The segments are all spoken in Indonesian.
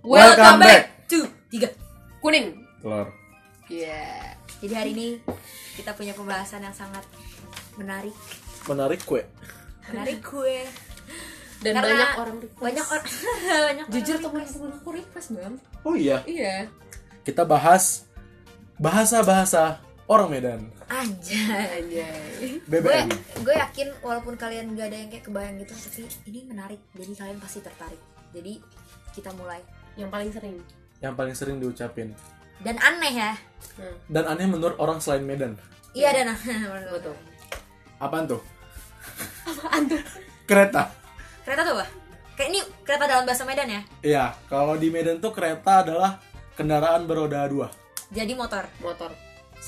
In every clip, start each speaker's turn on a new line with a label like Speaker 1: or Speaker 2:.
Speaker 1: Welcome back.
Speaker 2: Two, tiga.
Speaker 1: Kuning.
Speaker 3: Telur.
Speaker 1: Iya.
Speaker 2: Jadi hari ini kita punya pembahasan yang sangat menarik.
Speaker 4: menarik kue
Speaker 2: Menarik gue.
Speaker 1: Dan
Speaker 2: Karena
Speaker 1: banyak orang request.
Speaker 2: Banyak orang banyak
Speaker 1: Jujur
Speaker 2: orang request.
Speaker 1: temen-temenku request bang.
Speaker 4: oh iya
Speaker 1: Iya.
Speaker 4: kita bahas bahasa bahasa orang Medan
Speaker 2: Anjay.
Speaker 1: Anjay.
Speaker 2: Gue
Speaker 4: BBM
Speaker 2: gue yakin walaupun kalian gak ada yang kayak kebayang gitu tapi ini menarik. Jadi kalian pasti tertarik. Jadi kita mulai.
Speaker 1: Yang paling sering.
Speaker 4: yang paling sering diucapin
Speaker 2: Dan aneh ya.
Speaker 1: Nah,
Speaker 4: dan aneh menurut orang selain Medan
Speaker 2: Iya dan aneh.
Speaker 1: betul.
Speaker 4: apaan tuh
Speaker 1: Apaan tuh?
Speaker 4: kereta
Speaker 2: Kereta tuh apa? Kayak ini kereta dalam bahasa Medan ya.
Speaker 4: iya kalau di Medan tuh kereta adalah kendaraan beroda dua
Speaker 2: Jadi motor.
Speaker 1: Motor.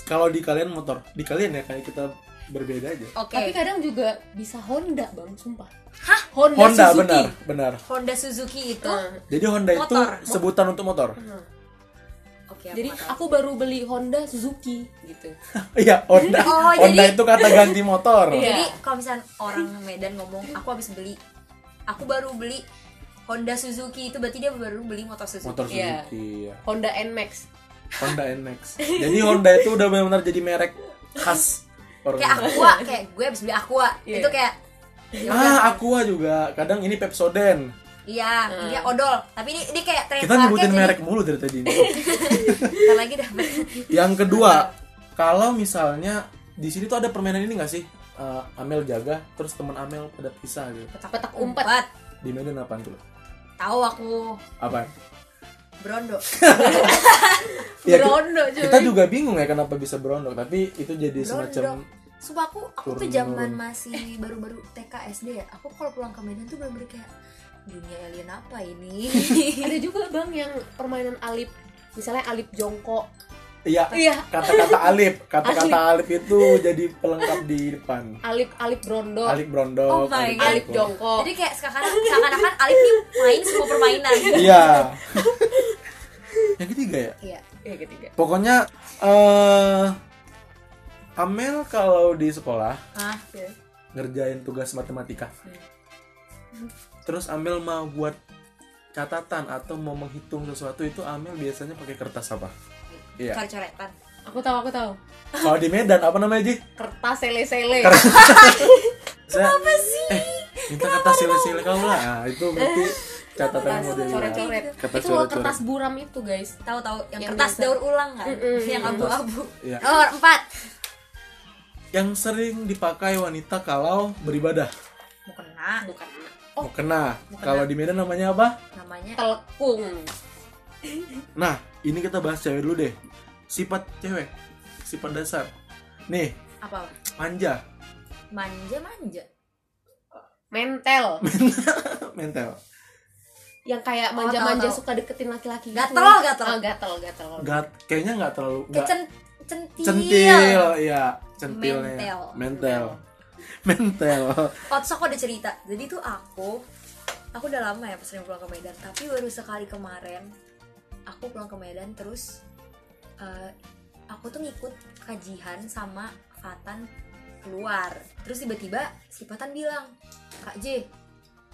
Speaker 4: kalau di kalian motor di kalian ya kayak kita berbeda aja
Speaker 2: Oke.
Speaker 1: Tapi kadang juga bisa Honda bang, sumpah.
Speaker 2: Hah?
Speaker 1: Honda,
Speaker 4: Honda
Speaker 1: Suzuki.
Speaker 4: benar benar
Speaker 2: Honda Suzuki itu.
Speaker 1: Nah,
Speaker 4: jadi Honda itu
Speaker 2: Motor.
Speaker 4: sebutan untuk motor
Speaker 1: nah.
Speaker 2: Oke.
Speaker 1: Jadi
Speaker 2: nggak tahu.
Speaker 1: aku baru beli Honda Suzuki gitu.
Speaker 4: iya Honda
Speaker 2: Oh,
Speaker 4: Honda
Speaker 2: jadi-
Speaker 4: itu kata ganti motor
Speaker 1: Iya.
Speaker 2: Jadi kalau misalnya orang Medan ngomong aku habis beli aku baru beli Honda Suzuki itu berarti dia baru beli motor Suzuki.
Speaker 4: motor Suzuki
Speaker 1: Iya.
Speaker 4: iya.
Speaker 1: Honda Nmax.
Speaker 4: Honda NX jadi Honda itu udah benar-benar jadi merek khas orang
Speaker 2: Kayak
Speaker 4: Medan.
Speaker 2: Aqua, kayak gue habis beli Aqua.
Speaker 1: Iya.
Speaker 2: Itu kayak ya udah.
Speaker 4: Ah, Aqua juga. Kadang ini Pepsoden.
Speaker 2: Iya, dia odol. Tapi ini dia kayak
Speaker 4: Kita
Speaker 2: trademarknya
Speaker 4: nyebutin
Speaker 2: jadi-
Speaker 4: merek mulu dari tadi. ini.
Speaker 2: Bentar lagi dapat.
Speaker 4: Yang kedua, kalau misalnya di sini tuh ada permainan ini nggak sih? Eh, Amel jaga, terus teman Amel pada pisah gitu.
Speaker 1: Petak umpet.
Speaker 4: Di Medan apaan tuh?
Speaker 2: Tahu aku
Speaker 4: Apa?
Speaker 2: Brondo.
Speaker 4: Ya, ki-
Speaker 1: Brondo cuy.
Speaker 4: kita juga bingung ya kenapa bisa berondok, tapi itu jadi semacam
Speaker 2: Sumpah aku aku tuh
Speaker 4: Turun-menurun.
Speaker 2: zaman masih baru-baru TK SD ya. Aku kalau pulang ke Medan tuh bener-bener kayak dunia alien apa ini?
Speaker 1: Ada juga bang yang permainan alip. Misalnya alip jongkok.
Speaker 4: iya
Speaker 1: Iya.
Speaker 4: kata-kata alip, kata-kata alip itu jadi pelengkap di depan.
Speaker 1: Alip alip brondo.
Speaker 4: Alip berondok,
Speaker 2: Oh my God.
Speaker 1: Alip
Speaker 4: jongkok.
Speaker 1: jongkok.
Speaker 2: Jadi kayak seakan- seakan-akan Alif nih main semua permainan.
Speaker 4: Iya. Yang ketiga ya,
Speaker 2: Iya.
Speaker 1: Ya ketiga.
Speaker 4: Pokoknya eh Amel kalau di sekolah
Speaker 2: Hah?
Speaker 1: Ya.
Speaker 4: ngerjain tugas matematika.
Speaker 1: Hmm.
Speaker 4: Terus Amel mau buat catatan atau mau menghitung sesuatu itu Amel biasanya pakai kertas apa? Iya.
Speaker 2: Coret-coretan.
Speaker 1: Aku tahu aku tahu.
Speaker 4: Kalau di Medan apa namanya, Ji?
Speaker 1: Kertas sele-sele.
Speaker 4: Saya, Kenapa sih? Eh, minta kertas sile-sile kamu lah. Ah, itu berarti catatan yang mau
Speaker 2: Kertas
Speaker 4: dia.
Speaker 1: Coret-coret.
Speaker 4: Kertas
Speaker 1: Itu loh
Speaker 4: coret-coret.
Speaker 1: kertas buram itu guys.
Speaker 2: Tahu-tahu yang,
Speaker 1: Yang
Speaker 2: kertas
Speaker 1: biasa.
Speaker 2: daur ulang kan?
Speaker 1: Mm-mm.
Speaker 2: Yang abu-abu.
Speaker 4: Iya.
Speaker 2: Nomor empat.
Speaker 4: Yang sering dipakai wanita kalau beribadah.
Speaker 2: Mau kena
Speaker 1: Bukan.
Speaker 4: Oh, kena.
Speaker 2: mau kena.
Speaker 4: Kalau di Medan namanya apa?
Speaker 2: namanya
Speaker 1: Telekung.
Speaker 4: Nah, ini kita bahas cewek dulu deh. Sifat cewek, sifat dasar. Nih,
Speaker 2: apa?
Speaker 4: manja,
Speaker 2: Manja-manja.
Speaker 1: Mentel.
Speaker 4: mental,
Speaker 1: yang kayak
Speaker 2: Oh,
Speaker 1: manja-manja
Speaker 2: tahu, tahu.
Speaker 1: suka deketin laki-laki
Speaker 2: Gatel, gatel.
Speaker 1: Oh, gatel gatel
Speaker 4: gat, kayaknya nggak terlalu nggak
Speaker 2: Kecen centil.
Speaker 4: centil, ya centilnya,
Speaker 2: Mentel.
Speaker 4: mental, mental.
Speaker 2: Otso aku udah cerita. Jadi tuh aku aku udah lama ya sering pulang ke Medan, tapi baru sekali kemarin aku pulang ke Medan terus eh, aku tuh ngikut kajian sama Fatan keluar. Terus tiba-tiba si Fatan bilang, "Kak J,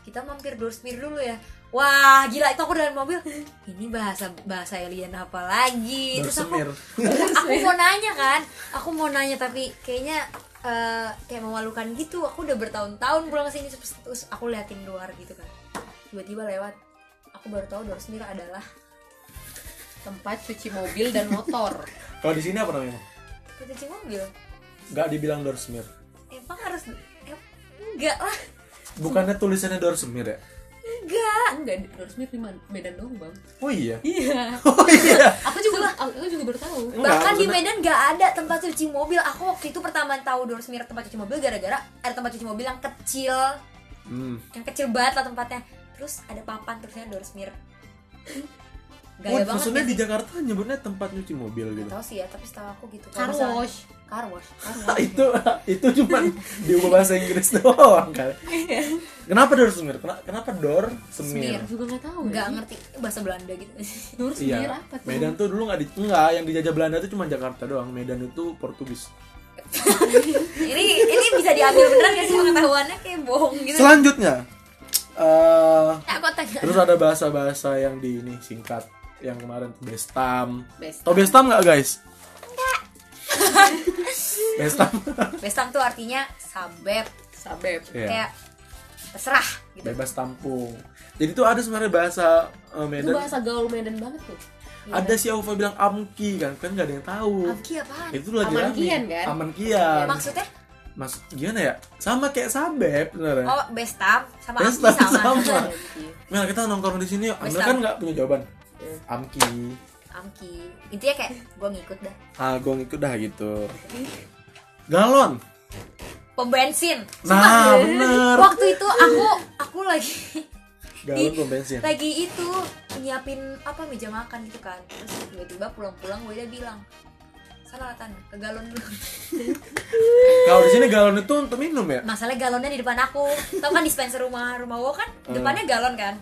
Speaker 2: kita mampir Dorsmir dulu ya." Wah, gila itu aku dalam mobil. Ini bahasa bahasa alien apa lagi? Iya, Terus aku
Speaker 4: Bersemir.
Speaker 2: aku
Speaker 4: ya?
Speaker 2: mau nanya kan aku mau nanya tapi kayaknya eh, kayak memalukan gitu aku udah bertahun-tahun pulang ke sini terus, terus aku liatin luar gitu kan tiba-tiba lewat aku baru tahu Dorsmir adalah
Speaker 1: tempat cuci mobil dan motor
Speaker 4: Kalau di sini apa namanya?
Speaker 2: cuci mobil
Speaker 4: Nggak dibilang dorsemir.
Speaker 2: emang harus em- enggak lah
Speaker 4: Bukannya tulisannya dorsemir ya?
Speaker 2: enggak
Speaker 1: enggak resmi di Man- Medan doang bang
Speaker 4: Oh iya.
Speaker 1: iya
Speaker 4: Oh iya.
Speaker 1: aku juga aku juga baru tahu
Speaker 4: Enggak,
Speaker 2: bahkan di
Speaker 4: maksudnya-
Speaker 2: Medan nggak ada tempat cuci mobil aku waktu itu pertama tahu Dorsmir tempat cuci mobil gara-gara ada tempat cuci mobil yang kecil
Speaker 4: Hmm.
Speaker 2: yang kecil banget lah tempatnya terus ada papan terusnya Dorsmir
Speaker 4: Oh,
Speaker 2: gaya banget
Speaker 4: maksudnya
Speaker 2: ya
Speaker 4: di
Speaker 2: sih.
Speaker 4: Jakarta nyebutnya tempat nyuci mobil
Speaker 2: Gak
Speaker 4: gitu.
Speaker 2: tau sih ya, tapi setahu aku gitu.
Speaker 1: car
Speaker 2: Kalau misalnya-
Speaker 1: wash
Speaker 2: Car wash. Car wash.
Speaker 4: itu itu cuma diubah bahasa Inggris doang kali. Kenapa dor semir? Kena- Kenapa dor semir?
Speaker 1: Iya,
Speaker 2: Semir.
Speaker 1: juga nggak tahu
Speaker 2: Nggak ngerti bahasa Belanda gitu.
Speaker 1: dulu
Speaker 4: Iya.
Speaker 1: sendiri apa tuh
Speaker 4: Medan tuh dulu nggak di enggak yang dijajah Belanda tuh cuma Jakarta doang. Medan itu Portugis.
Speaker 2: ini ini bisa diambil beneran gak sih pengetahuannya kayak bohong gitu.
Speaker 4: Selanjutnya eh,
Speaker 2: Ya, aku tanya.
Speaker 4: terus ada bahasa-bahasa yang di ini singkat yang kemarin tuh bestam.
Speaker 1: Best.
Speaker 4: Tau bestam nggak guys? bestam.
Speaker 2: Bestam tuh artinya sabep,
Speaker 1: Sabep.
Speaker 4: Iya.
Speaker 2: kayak terserah gitu.
Speaker 4: Bebas tampung. Jadi tuh ada sebenarnya bahasa eh,
Speaker 1: Itu
Speaker 4: Medan.
Speaker 1: bahasa gaul Medan banget tuh. Iya.
Speaker 4: Ada si Aufa bilang amki kan, kan nggak ada yang tahu.
Speaker 2: Abki apaan? Ya,
Speaker 4: Itu lagi
Speaker 1: Aman
Speaker 4: rame.
Speaker 1: kian, kan?
Speaker 4: Aman kian.
Speaker 2: Maksudnya
Speaker 4: Maksud gimana ya? Sama kayak sabep sebenarnya.
Speaker 2: oh bestam sama abki
Speaker 4: Bestam
Speaker 2: sama.
Speaker 4: sama. Mel kita nongkrong di sini, yuk. Amel
Speaker 2: Bestam.
Speaker 4: kan nggak punya jawaban.
Speaker 1: Iya.
Speaker 4: Amki,
Speaker 2: Amki. Intinya kayak gua ngikut dah.
Speaker 4: agong itu dah gitu.
Speaker 1: Iya.
Speaker 4: Galon.
Speaker 2: Pom bensin.
Speaker 4: Nah, bener.
Speaker 2: Waktu itu aku aku lagi
Speaker 4: Galon pom bensin.
Speaker 2: lagi itu nyiapin apa meja makan gitu kan terus tiba-tiba pulang-pulang gue udah bilang sana latan ke galon dulu
Speaker 4: Kalau di sini galon itu untuk minum ya?
Speaker 2: masalahnya galonnya di depan aku tau kan dispenser rumah rumah gue kan depannya galon kan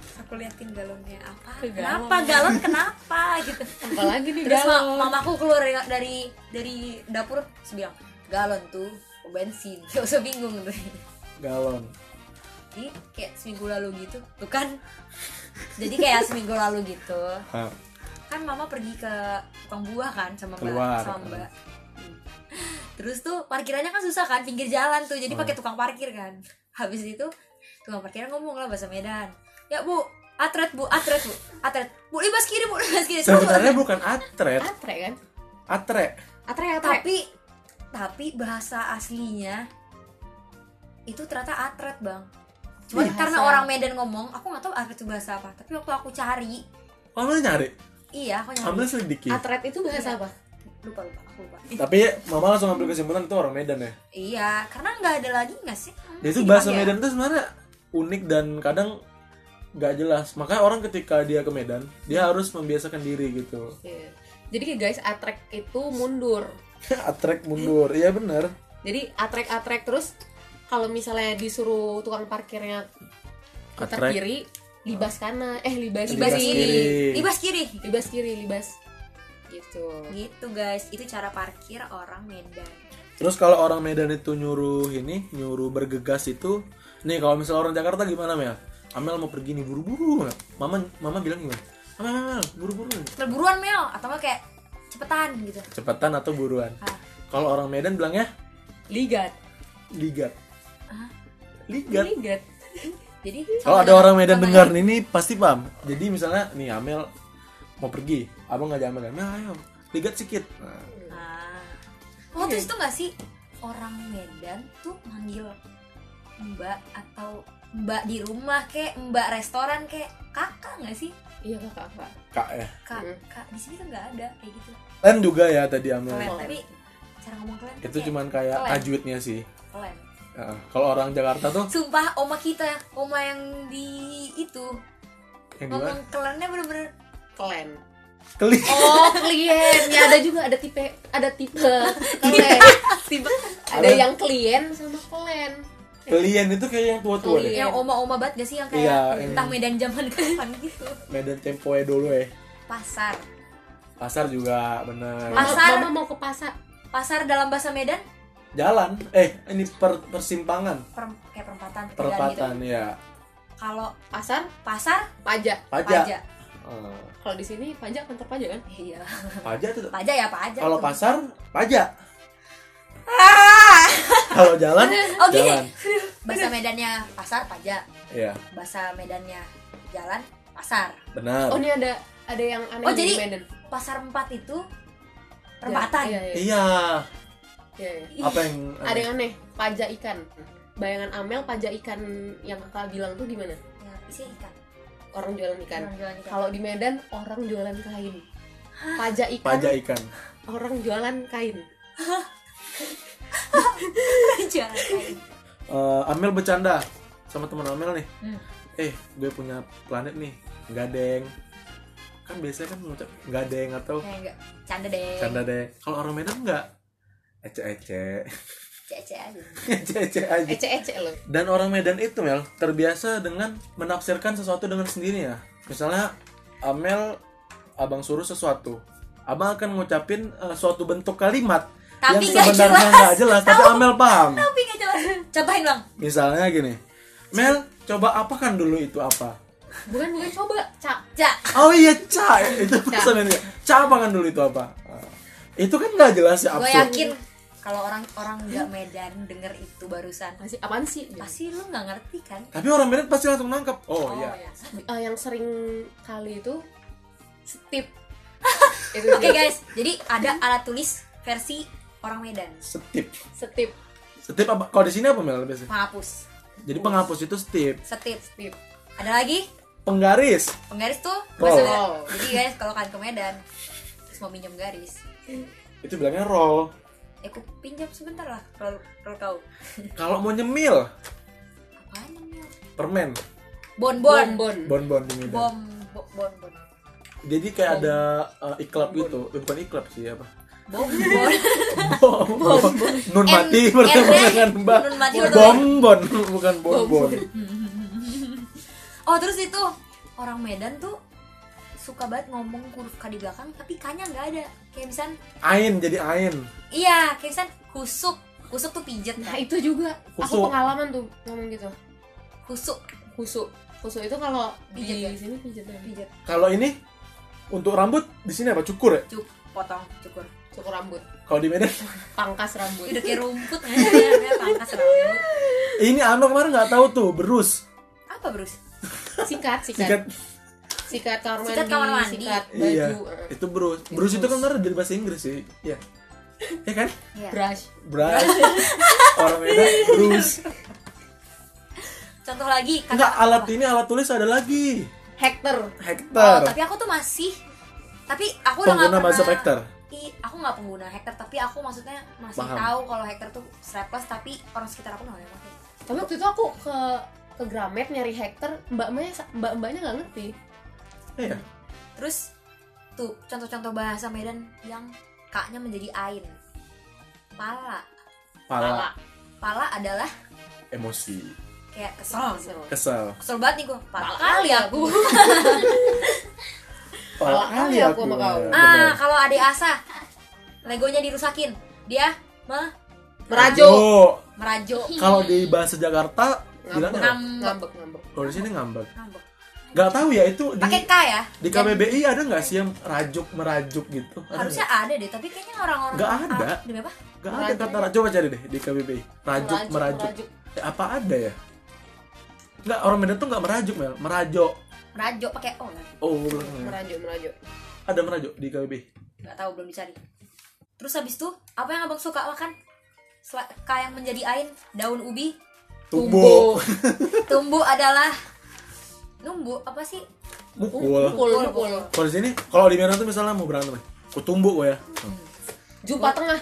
Speaker 2: Terus aku liatin galonnya apa
Speaker 1: Ke galon.
Speaker 2: kenapa galon kenapa gitu
Speaker 1: Apalagi nih
Speaker 2: terus ma-
Speaker 1: gaul.
Speaker 2: mamaku keluar dari- dari dari dapur terus bilang galon tuh oh, bensin gak usah bingung tuh
Speaker 4: Galon.
Speaker 2: jadi kayak seminggu lalu gitu tuh kan jadi kayak seminggu lalu gitu
Speaker 4: Hah.
Speaker 2: kan mama pergi ke tukang buah kan sama mbak
Speaker 4: Keluar.
Speaker 2: sama mbak Hmm. terus tuh parkirannya kan susah kan pinggir jalan tuh jadi
Speaker 4: Oh, iya.
Speaker 2: pakai tukang parkir kan habis itu tukang parkiran ngomong lah bahasa Medan ya bu atret bu atret bu atret bu libas kiri bu libas kiri Terus,
Speaker 4: Sebenarnya bukan atret,
Speaker 1: Atre kan?
Speaker 4: atre.
Speaker 1: Atre atre.
Speaker 2: tapi tapi bahasa aslinya itu ternyata atret bang cuman
Speaker 4: Iya.
Speaker 1: Bahasa.
Speaker 2: karena orang Medan ngomong aku nggak tahu atret itu bahasa apa tapi waktu aku cari
Speaker 4: Oh, Amel nyari,
Speaker 2: iya aku nyari
Speaker 4: Amel selidiki.
Speaker 1: Nah. Atret itu bahasa apa?
Speaker 2: lupa lupa aku lupa
Speaker 4: Tapi mama langsung ambil kesimpulan itu orang Medan ya.
Speaker 2: Iya, karena nggak ada lagi nggak sih?
Speaker 4: Ya, itu
Speaker 2: Dipakai
Speaker 4: bahasa
Speaker 2: ya?
Speaker 4: Medan itu sebenarnya unik dan kadang nggak jelas. Makanya orang ketika dia ke Medan, dia harus membiasakan diri gitu.
Speaker 1: Iya. Jadi kayak guys, atrek itu mundur.
Speaker 4: Atrek mundur, iya bener.
Speaker 1: Jadi atrek-atrek terus kalau misalnya disuruh tukang parkirnya putar
Speaker 4: Atrek.
Speaker 1: kiri, libas kanan, eh libas
Speaker 4: Libas
Speaker 2: Libas kiri.
Speaker 4: kiri.
Speaker 2: Libas kiri.
Speaker 1: Libas kiri, libas gitu.
Speaker 2: Gitu guys, itu cara parkir orang Medan.
Speaker 4: Terus kalau orang Medan itu nyuruh ini, nyuruh bergegas itu, nih kalau misalnya orang Jakarta gimana Mel? Amel mau pergi nih buru-buru, Mel. mama mama bilang gimana? Amel, Amel, Amel, buru-buru,
Speaker 2: Terburuan Mel atau nggak kayak cepetan gitu.
Speaker 4: cepetan atau buruan?
Speaker 2: Ah.
Speaker 4: Kalau orang Medan bilangnya
Speaker 1: Ligat.
Speaker 4: ligat,
Speaker 2: Ah.
Speaker 4: ligat.
Speaker 1: Ligat.
Speaker 2: Jadi
Speaker 4: Kalau Oh,
Speaker 2: sama
Speaker 4: ada
Speaker 2: dengan-
Speaker 4: orang Medan
Speaker 2: sama
Speaker 4: dengar ini pasti paham. Jadi misalnya nih Amel mau pergi, abang ngajak Amel, Amel ayo ligat sedikit. Nah,
Speaker 2: dengan- Ah. Lo tuh itu nggak sih orang Medan tuh manggil Mbak atau Mbak di rumah kek, Mbak restoran kek, kakak nggak sih?
Speaker 1: Iya kakak kakak.
Speaker 4: kak ya.
Speaker 2: Kak,
Speaker 1: Mm.
Speaker 2: kak di sini tuh nggak ada kayak gitu.
Speaker 4: Kalian juga ya tadi Amel.
Speaker 2: Kelen, tapi cara ngomong kelen tuh
Speaker 4: Itu
Speaker 2: kayak
Speaker 4: cuman kayak
Speaker 2: Kelen.
Speaker 4: tajwidnya sih.
Speaker 2: kelen.
Speaker 4: Heeh. Kalau orang Jakarta tuh
Speaker 2: Sumpah oma kita, oma yang di itu
Speaker 4: yang di mana?
Speaker 2: ngomong kelennya bener-bener
Speaker 1: Kelen.
Speaker 4: Keli.
Speaker 1: Oh, klien. Ya ada juga ada tipe ada tipe kelen.
Speaker 2: tiba
Speaker 1: Ada yang klien sama kelen.
Speaker 4: Kelian itu kayak yang tua-tua deh.
Speaker 1: Keli.
Speaker 2: yang oma-oma banget gak sih yang kayak
Speaker 4: Iya,
Speaker 2: entah
Speaker 4: yang-
Speaker 2: Medan zaman kapan gitu
Speaker 4: Medan tempoe dulu ya.
Speaker 2: pasar
Speaker 4: Pasar juga bener.
Speaker 2: Pas- Pasar.
Speaker 1: Mama mau ke pasar.
Speaker 2: pasar dalam bahasa Medan
Speaker 4: Jalan. Eh ini per- persimpangan,
Speaker 2: per- kayak perempatan pertigaan gitu
Speaker 4: perempatan ya.
Speaker 2: kalau
Speaker 1: Pasar
Speaker 2: pasar
Speaker 1: pajak.
Speaker 4: Pajak.
Speaker 2: pajak
Speaker 4: Eh,
Speaker 1: Kalau di sini pajak kantor pajak kan?
Speaker 2: iya
Speaker 4: Pajak tuh.
Speaker 2: pajak ya pajak
Speaker 4: Kalau
Speaker 2: tuh.
Speaker 4: pasar pajak.
Speaker 2: Ah!
Speaker 4: Kalau jalan
Speaker 2: oke
Speaker 4: jalan.
Speaker 2: bahasa Medannya pasar pajak
Speaker 4: Iya,
Speaker 2: bahasa Medannya jalan pasar
Speaker 4: benar.
Speaker 1: Oh, ini ada ada yang aneh
Speaker 2: Oh,
Speaker 1: di
Speaker 2: jadi-
Speaker 1: Medan.
Speaker 2: pasar empat itu
Speaker 1: Iya,
Speaker 2: perempatan
Speaker 1: iya, iya.
Speaker 4: Iya,
Speaker 1: Iya, iya.
Speaker 4: apa yang
Speaker 1: Ada yang aneh, pajak ikan. Bayangan Amel pajak ikan yang kakak bilang tuh gimana?
Speaker 2: Ya, isinya ikan
Speaker 1: Orang jualan ikan.
Speaker 2: Orang jualan ikan.
Speaker 1: Kalau di Medan orang jualan kain. Pajak ikan,
Speaker 4: pajak ikan?
Speaker 1: orang jualan kain.
Speaker 2: Jualan kain.
Speaker 4: Eh, Amel bercanda sama teman Amel nih.
Speaker 2: Hmm.
Speaker 4: Eh, gue punya planet nih, gadeng. Kan biasanya kan ngucap gadeng atau
Speaker 2: Kayak enggak canda deh
Speaker 4: canda deh. Kalau orang Medan enggak ece-ece,
Speaker 2: cece aja
Speaker 4: ece-ece aja.
Speaker 1: Ece-ece loh.
Speaker 4: Dan orang Medan itu Mel terbiasa dengan menafsirkan sesuatu dengan sendirinya. Misalnya Amel abang suruh sesuatu, abang akan ngucapin eh, suatu bentuk kalimat
Speaker 2: Tapi
Speaker 4: yang
Speaker 2: nggak
Speaker 4: sebenarnya
Speaker 2: jelas.
Speaker 4: nggak jelas, tapi
Speaker 2: Tahu.
Speaker 4: Amel paham.
Speaker 2: tapi nggak jelas cobain bang
Speaker 4: Misalnya gini, Mel coba apakan dulu itu apa
Speaker 1: bukan bukan coba cak
Speaker 2: Ja.
Speaker 4: oh iya ca itu pesanannya ca apakan dulu itu apa Ah. itu kan nggak jelas ya
Speaker 2: Gue
Speaker 4: absurd
Speaker 2: yakin kalau orang-orang nggak Medan denger itu barusan,
Speaker 1: masih apaan sih
Speaker 2: pasti lu nggak ngerti kan?
Speaker 4: tapi orang Medan pasti langsung nangkep oh, iya
Speaker 1: Eh, yang sering kali itu stip itu
Speaker 2: Oke
Speaker 1: sih
Speaker 2: guys, jadi ada alat tulis versi orang Medan.
Speaker 4: setip
Speaker 1: stip
Speaker 4: setip apa kalau di sini apa mel biasanya
Speaker 2: Penghapus,
Speaker 4: jadi penghapus itu setip
Speaker 2: setip.
Speaker 1: stip
Speaker 2: Ada lagi?
Speaker 4: penggaris
Speaker 2: Penggaris tuh
Speaker 4: Roll.
Speaker 2: bahasa Medan. Jadi guys, kalau kalian ke Medan terus mau minjem garis,
Speaker 4: itu bilangnya roll
Speaker 2: eh aku pinjam sebentar lah roll, roll kau.
Speaker 4: kalau mau nyemil
Speaker 2: Apaan namanya?
Speaker 4: permen
Speaker 2: Bon bon
Speaker 1: bon bon
Speaker 4: bonbon di Medan
Speaker 2: bom bo- bon bon
Speaker 4: jadi kayak ada uh, iklap gitu Eh, bukan iklap sih apa
Speaker 2: bom bon
Speaker 4: bom bom nun mati bertemu
Speaker 2: N-nya
Speaker 4: dengan mbak
Speaker 2: nun mati
Speaker 4: bom bon bukan bom bon
Speaker 2: oh terus itu orang Medan tuh suka banget ngomong huruf k di belakang tapi kanya nggak ada kayak misal
Speaker 4: ain jadi ain
Speaker 2: iya kayak misal kusuk kusuk tuh pijet
Speaker 1: nah
Speaker 2: kan
Speaker 1: itu juga aku
Speaker 4: Kusuk.
Speaker 1: pengalaman tuh ngomong gitu
Speaker 2: kusuk
Speaker 1: kusuk kusuk itu kalau
Speaker 2: Pijat
Speaker 1: di
Speaker 2: ya?
Speaker 1: sini pijatan
Speaker 2: pijet
Speaker 4: kalau ini untuk rambut di sini apa cukur ya
Speaker 2: cuk potong cukur
Speaker 1: cukur rambut
Speaker 4: kalau di Medan
Speaker 1: pangkas rambut
Speaker 2: udah kayak rumput Iya, nggak sih namanya pangkas rambut
Speaker 4: ini Ano kemarin nggak tahu tuh berus
Speaker 2: apa Bruce
Speaker 1: sikat sikat
Speaker 4: sikat
Speaker 1: sikat kamar mandi
Speaker 2: Sikat kamar mandi.
Speaker 1: sikat
Speaker 4: iya
Speaker 1: baju eh,
Speaker 4: itu berus berus itu kan ntar dari bahasa Inggris sih ya ya kan
Speaker 1: brush
Speaker 4: brush orang Medan berus
Speaker 2: contoh lagi Oh, kata-
Speaker 4: enggak alat ini alat tulis ada lagi
Speaker 1: hektar
Speaker 2: Oh,
Speaker 4: hektar
Speaker 2: tapi aku tuh masih tapi aku udah nggak
Speaker 4: pengguna
Speaker 2: pernah
Speaker 4: bahasa hektar
Speaker 2: Ih, aku nggak pengguna hacker tapi aku maksudnya masih
Speaker 4: Paham.
Speaker 2: tahu kalau hacker tuh strapless tapi orang sekitar aku nggak ada yang pakai
Speaker 1: tapi waktu itu aku ke ke Gramet nyari hektar mbak mbaknya mbak mbaknya nggak ngerti
Speaker 4: iya
Speaker 2: terus tuh contoh-contoh bahasa Medan yang kaknya menjadi ain pala
Speaker 4: pala
Speaker 2: pala adalah
Speaker 4: emosi
Speaker 2: kayak kesel gitu.
Speaker 1: Kesel.
Speaker 4: kesel ya,
Speaker 2: kesel banget nih gue pala
Speaker 1: Pala
Speaker 2: kali aku
Speaker 1: Pala kali aku sama kau.
Speaker 4: ya,
Speaker 2: ah
Speaker 4: benar.
Speaker 2: kalau adik asa legonya dirusakin dia me-
Speaker 1: merajo
Speaker 4: Oh,
Speaker 2: merajo
Speaker 4: kalau di bahasa Jakarta
Speaker 1: Ngambek.
Speaker 4: bilangnya apa?
Speaker 2: ngambek
Speaker 1: ngambek ngambek
Speaker 4: kalau di sini ngambek
Speaker 2: ngambek
Speaker 4: nggak tahu ya itu di,
Speaker 2: pakai k ya
Speaker 4: di KBBI ada nggak sih yang rajuk merajuk gitu Ada
Speaker 2: harusnya
Speaker 4: nggak?
Speaker 2: ada deh tapi kayaknya orang-orang
Speaker 4: Nggak ada.
Speaker 2: Ah, demi apa
Speaker 4: nggak ada kata rajuk coba cari deh di KBBI rajuk
Speaker 1: Merajuk,
Speaker 4: merajuk
Speaker 1: merajuk.
Speaker 4: Eh, apa ada ya nggak orang Medan tuh nggak merajuk mel merajuk
Speaker 2: merajo pakai o kan
Speaker 4: oh belum.
Speaker 1: merajo merajo
Speaker 4: ada merajuk di KBBI
Speaker 2: nggak tahu belum dicari terus habis itu apa yang abang suka makan Sel- kayak yang menjadi ain daun ubi
Speaker 4: tumbuh
Speaker 2: tumbuh adalah numbu apa sih
Speaker 4: mukul
Speaker 1: Pukul, pukul.
Speaker 4: kalau di sini kalau di Medan tuh misalnya mau berantem aku tumbuk gue ya
Speaker 1: jumpa tengah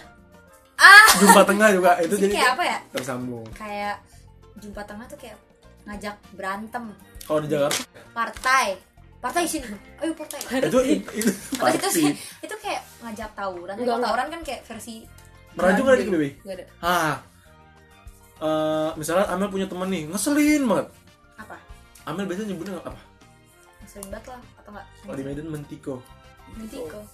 Speaker 2: ah
Speaker 4: jumpa tengah juga itu
Speaker 2: jadi
Speaker 4: jadi
Speaker 2: kayak apa ya
Speaker 4: tersambung
Speaker 2: kayak jumpa tengah tuh kayak ngajak berantem
Speaker 4: kalau di Jakarta
Speaker 2: partai partai sini ayo partai
Speaker 4: itu itu
Speaker 2: Terus Oh, itu
Speaker 4: pasti
Speaker 2: sih itu kayak ngajak tawuran
Speaker 1: Enggak,
Speaker 2: Kalau
Speaker 1: enggak.
Speaker 2: tawuran kan kayak versi
Speaker 4: merajuk nggak di
Speaker 2: gitu.
Speaker 4: KBBI
Speaker 1: nggak ada
Speaker 4: ah Eh, misalnya Amel punya temen nih ngeselin banget
Speaker 2: apa
Speaker 4: Amel biasanya nyebutnya apa
Speaker 2: sering banget lah atau enggak
Speaker 4: kalau di Medan mentiko
Speaker 2: Mitiko.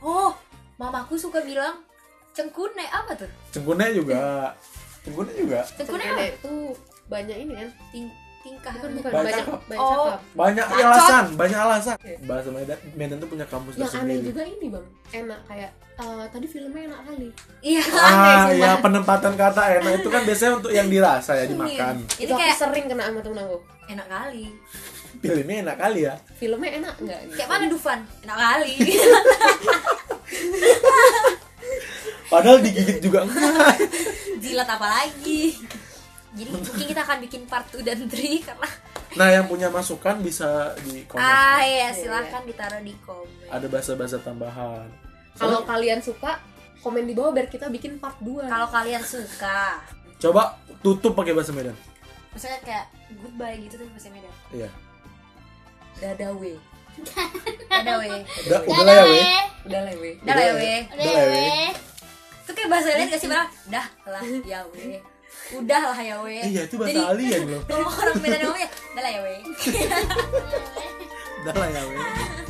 Speaker 2: Oh, mamaku suka bilang cengkune apa tuh?
Speaker 4: cengkunnya juga cengkunnya juga
Speaker 2: Cengkune apa?
Speaker 1: Cengkene itu banyak ini kan
Speaker 2: Ting- tingkah.
Speaker 1: bukan bukan
Speaker 4: Banyak
Speaker 1: banyak
Speaker 4: cakap.
Speaker 1: banyak
Speaker 2: Oh.
Speaker 1: cakap
Speaker 4: banyak
Speaker 2: Bacot.
Speaker 4: alasan banyak alasan bahasa Medan Medan tuh punya kampus
Speaker 1: yang aneh
Speaker 4: tersendiri
Speaker 1: juga ini bang enak kayak eh, tadi filmnya enak kali
Speaker 2: Iya.
Speaker 4: ah
Speaker 1: aneh,
Speaker 4: ya
Speaker 1: sumpah.
Speaker 4: penempatan kata enak itu kan biasanya untuk yang dirasa ya dimakan
Speaker 2: Iya.
Speaker 1: itu,
Speaker 2: Itu
Speaker 1: kayak
Speaker 2: kayak
Speaker 1: sering kena sama temen aku
Speaker 2: enak kali.
Speaker 4: filmnya enak kali ya
Speaker 1: filmnya enak nggak gitu.
Speaker 2: Kayak mana Dufan? Enak kali.
Speaker 4: padahal digigit juga enggak
Speaker 2: Jilat apa lagi? Jadi mungkin kita akan bikin part 2 dan 3 karena
Speaker 4: nah yang punya masukan bisa di komen
Speaker 2: ah ya silahkan ditaruh di komen.
Speaker 4: ada bahasa-bahasa tambahan
Speaker 1: kalau kalian suka komen di bawah biar kita bikin part 2
Speaker 2: Kalau kalian suka,
Speaker 4: coba tutup pakai bahasa Medan
Speaker 2: misalnya kayak goodbye gitu tuh bahasa Medan.
Speaker 4: iya
Speaker 2: Dadawe. Dadawe.
Speaker 4: udah udah lah ya weh
Speaker 1: udah lewe
Speaker 2: Dadawe.
Speaker 4: udah lah ya weh
Speaker 2: Itu kayak bahasa lain gak sih Bang? Dah lah ya we. Udah lah ya we.
Speaker 4: iya itu bahasa
Speaker 2: Jadi-
Speaker 4: alien loh
Speaker 2: Kalau orang Medan namanya, udah lah ya we.
Speaker 4: udah lah ya weh